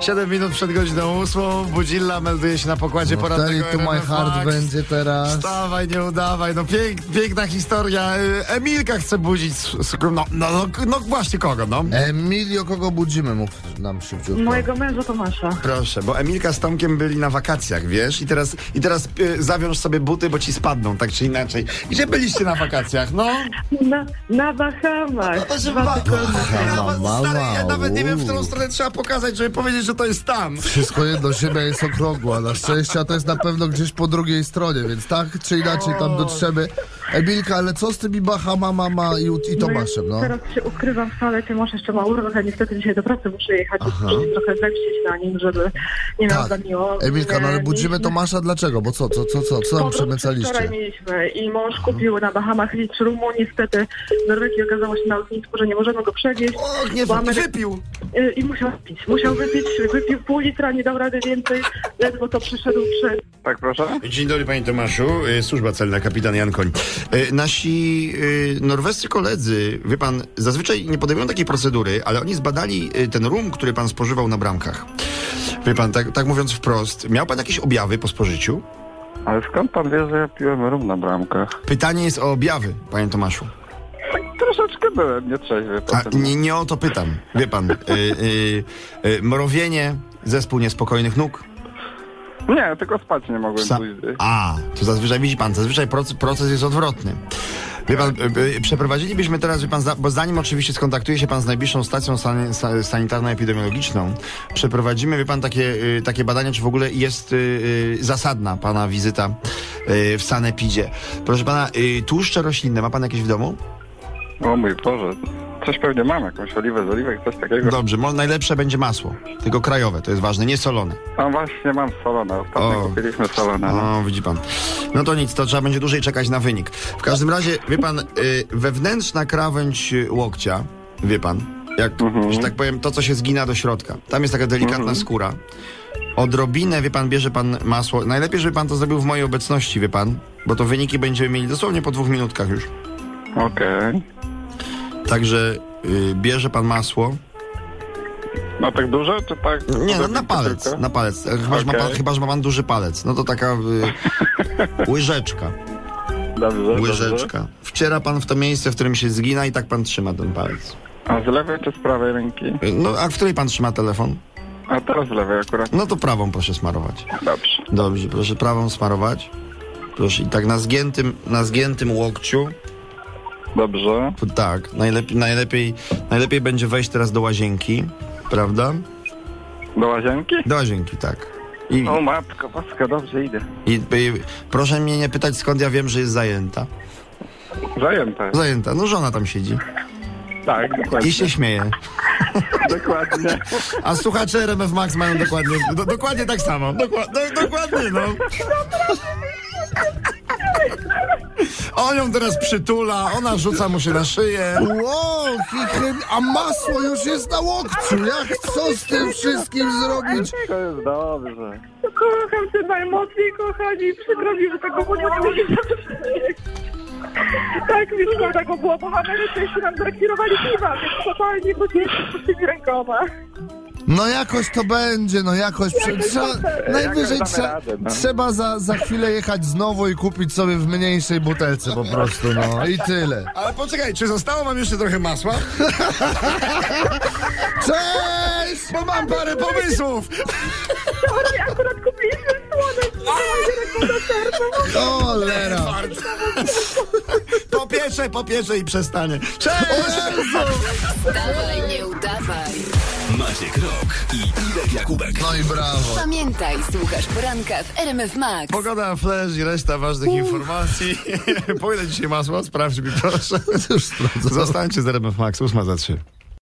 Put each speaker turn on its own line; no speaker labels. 7 minut przed godziną 8. Budzilla melduje się na pokładzie
No Wtedy
porannego
tu my
RMF
heart
Max.
będzie teraz.
Wstawaj, nie udawaj. No pięk, piękna historia. Y, Emilka chce budzić. s- s- No, no, no, no właśnie kogo, no?
E. Emilio, kogo budzimy? Mów nam szybciutko.
Mojego męża Tomasza.
Proszę, bo Emilka z Tomkiem byli na wakacjach, wiesz? I teraz, i teraz y, zawiąż sobie buty, bo ci spadną, tak czy inaczej. Gdzie byliście na wakacjach, no?
Na, na Bahamach.
To się
Dwa
ba-
tygodnie temu.
Ja was,
mama,
stary, ja nawet nie wiem, w którą
uuu.
stronę trzeba pokazać, żeby powiedzieć, że to jest tam.
Wszystko jedno, ziemia jest okrągła. Na szczęście, a to jest na pewno gdzieś po drugiej stronie, więc tak czy inaczej tam dotrzemy. Emilka, ale co z tymi Bahama, mama i, i
No i
Tomaszem, no?
Teraz się ukrywam w toalecie, masz jeszcze ma urlop, a niestety dzisiaj do pracy muszę jechać, więc muszę się trochę zemścić na nim, żeby nie miał za
Tak,
miło. E,
Emilka, no ale
Nie,
budzimy
mieliśmy-
Tomasza dlaczego? Bo co, co, co, co, co tam
Powrót
przemycaliście?
Wczoraj mieliśmy i mąż kupił na Bahamach litr rumu, niestety w Norwegii okazało się na lotnisku, że nie możemy go przewieźć
Och, nie
Bo
wy-
Amery-
wypił.
y, i musiał pić. Musiał wypić, wypił pół litra, nie dał rady więcej, ledwo to przyszedł przed
Tak, proszę?
Dzień dobry, panie Tomaszu. Y, Służba celna, kapitan Jan Koń. Y, Nasi y, norwescy koledzy, wie pan, zazwyczaj nie podejmują takiej procedury, ale oni zbadali y, ten rum, który pan spożywał na bramkach. Wie pan, tak, tak mówiąc wprost, miał pan jakieś objawy po spożyciu?
Ale skąd pan wie, że ja piłem rum na bramkach? Tak
Pytanie jest o objawy, panie Tomaszu.
Troszeczkę byłem nietrzeźwy
A,
potem.
nie, nie o to pytam, wie pan. Y, y, y, mrowienie, zespół niespokojnych nóg.
Nie, tylko spać nie mogłem
Psa-
później.
A, to zazwyczaj widzi pan, zazwyczaj proces, proces jest odwrotny. Wie pan, y, y, przeprowadzilibyśmy teraz, wie pan, za- bo zanim oczywiście skontaktuje się pan z najbliższą stacją san, sa- sanitarno-epidemiologiczną, przeprowadzimy, wie pan, takie, y, takie badania, czy w ogóle jest y, y, zasadna pana wizyta y, w sanepidzie. Proszę pana, y, tłuszcze roślinne ma pan jakieś w domu?
O mój Boże, coś pewnie mam, jakąś oliwę z oliwek, coś takiego.
Dobrze, mo- najlepsze będzie masło, tylko krajowe, to jest ważne, nie solone.
A właśnie mam solona, ostatnio
O.
kupiliśmy solona. No.
O, widzi pan. No to nic, to trzeba będzie dłużej czekać na wynik. W każdym razie, wie pan, y, wewnętrzna krawędź y, łokcia, wie pan, jak, że tak powiem, to, co się zgina do środka. Tam jest taka delikatna skóra. Odrobinę, wie pan, bierze pan masło. Najlepiej, żeby pan to zrobił w mojej obecności, wie pan, bo to wyniki będziemy mieli dosłownie po dwóch minutkach już. No.
Okej.
Także y, bierze pan masło.
No tak dużo, czy tak?
Nie, no, na
Tylko?
palec, na palec. Chyba, że ma pan,
Okej.
chyba, że ma pan duży palec. No to taka y, łyżeczka.
Dobrze, dobrze.
Łyżeczka. Wciera pan w to miejsce, w którym się zgina i tak pan trzyma ten palec.
A z lewej czy z prawej ręki?
No, a w której pan trzyma telefon?
A teraz z lewej akurat.
No to prawą proszę smarować.
Dobrze.
Dobrze, proszę prawą smarować. Proszę i tak na zgiętym, na zgiętym łokciu.
Dobrze.
P- Tak, najlepiej, najlepiej, najlepiej będzie wejść teraz do łazienki, prawda?
Do łazienki?
Do łazienki, tak. I,
O matko, paska, dobrze idę.
i, i proszę mnie nie pytać, skąd ja wiem, że jest zajęta.
Zajęte.
Zajęta, no żona tam siedzi
Tak, dokładnie.
i się śmieje.
Dokładnie.
A słuchacze RMF Max mają dokładnie, do, dokładnie tak samo. Dokła, do, dokładnie, no. On ją teraz przytula, ona rzuca mu się na szyję.
Wow, kichy- a masło już jest na łokciu. Jak co z tym wszystkim zrobić?
To jest dobrze.
Kocham cię najmocniej, kochani. Przykro mi, że tego udziału nie zrobiłeś. Tak, mi szkoda go było, bo mamy jeszcze nam zarekirowali piwa, więc totalnie go nie z tymi rękoma.
No jakoś to będzie, no jakoś. Prze- trzeba, najwyżej
damy
trze-
radę, no.
trzeba za, za chwilę jechać znowu i kupić sobie w mniejszej butelce po prostu, no i tyle.
Ale poczekaj, czy zostało wam jeszcze trochę masła?
Cześć!
Bo mam parę pomysłów.
Oni akurat kupiliśmy słodek, nie ręką do serca.
Cholera!
Popieszę, popieszę i przestanie. Cześć!
Dawaj, nie udawaj.
Maciek Rok i Irek Jakubek.
No i brawo.
Pamiętaj, słuchasz poranka w RMF Max.
Pogoda, flash i reszta ważnych informacji. Pójdę dzisiaj masło, sprawdź mi proszę.
Już sprawdzam.
Zostańcie z RMF Max, ósma za trzy.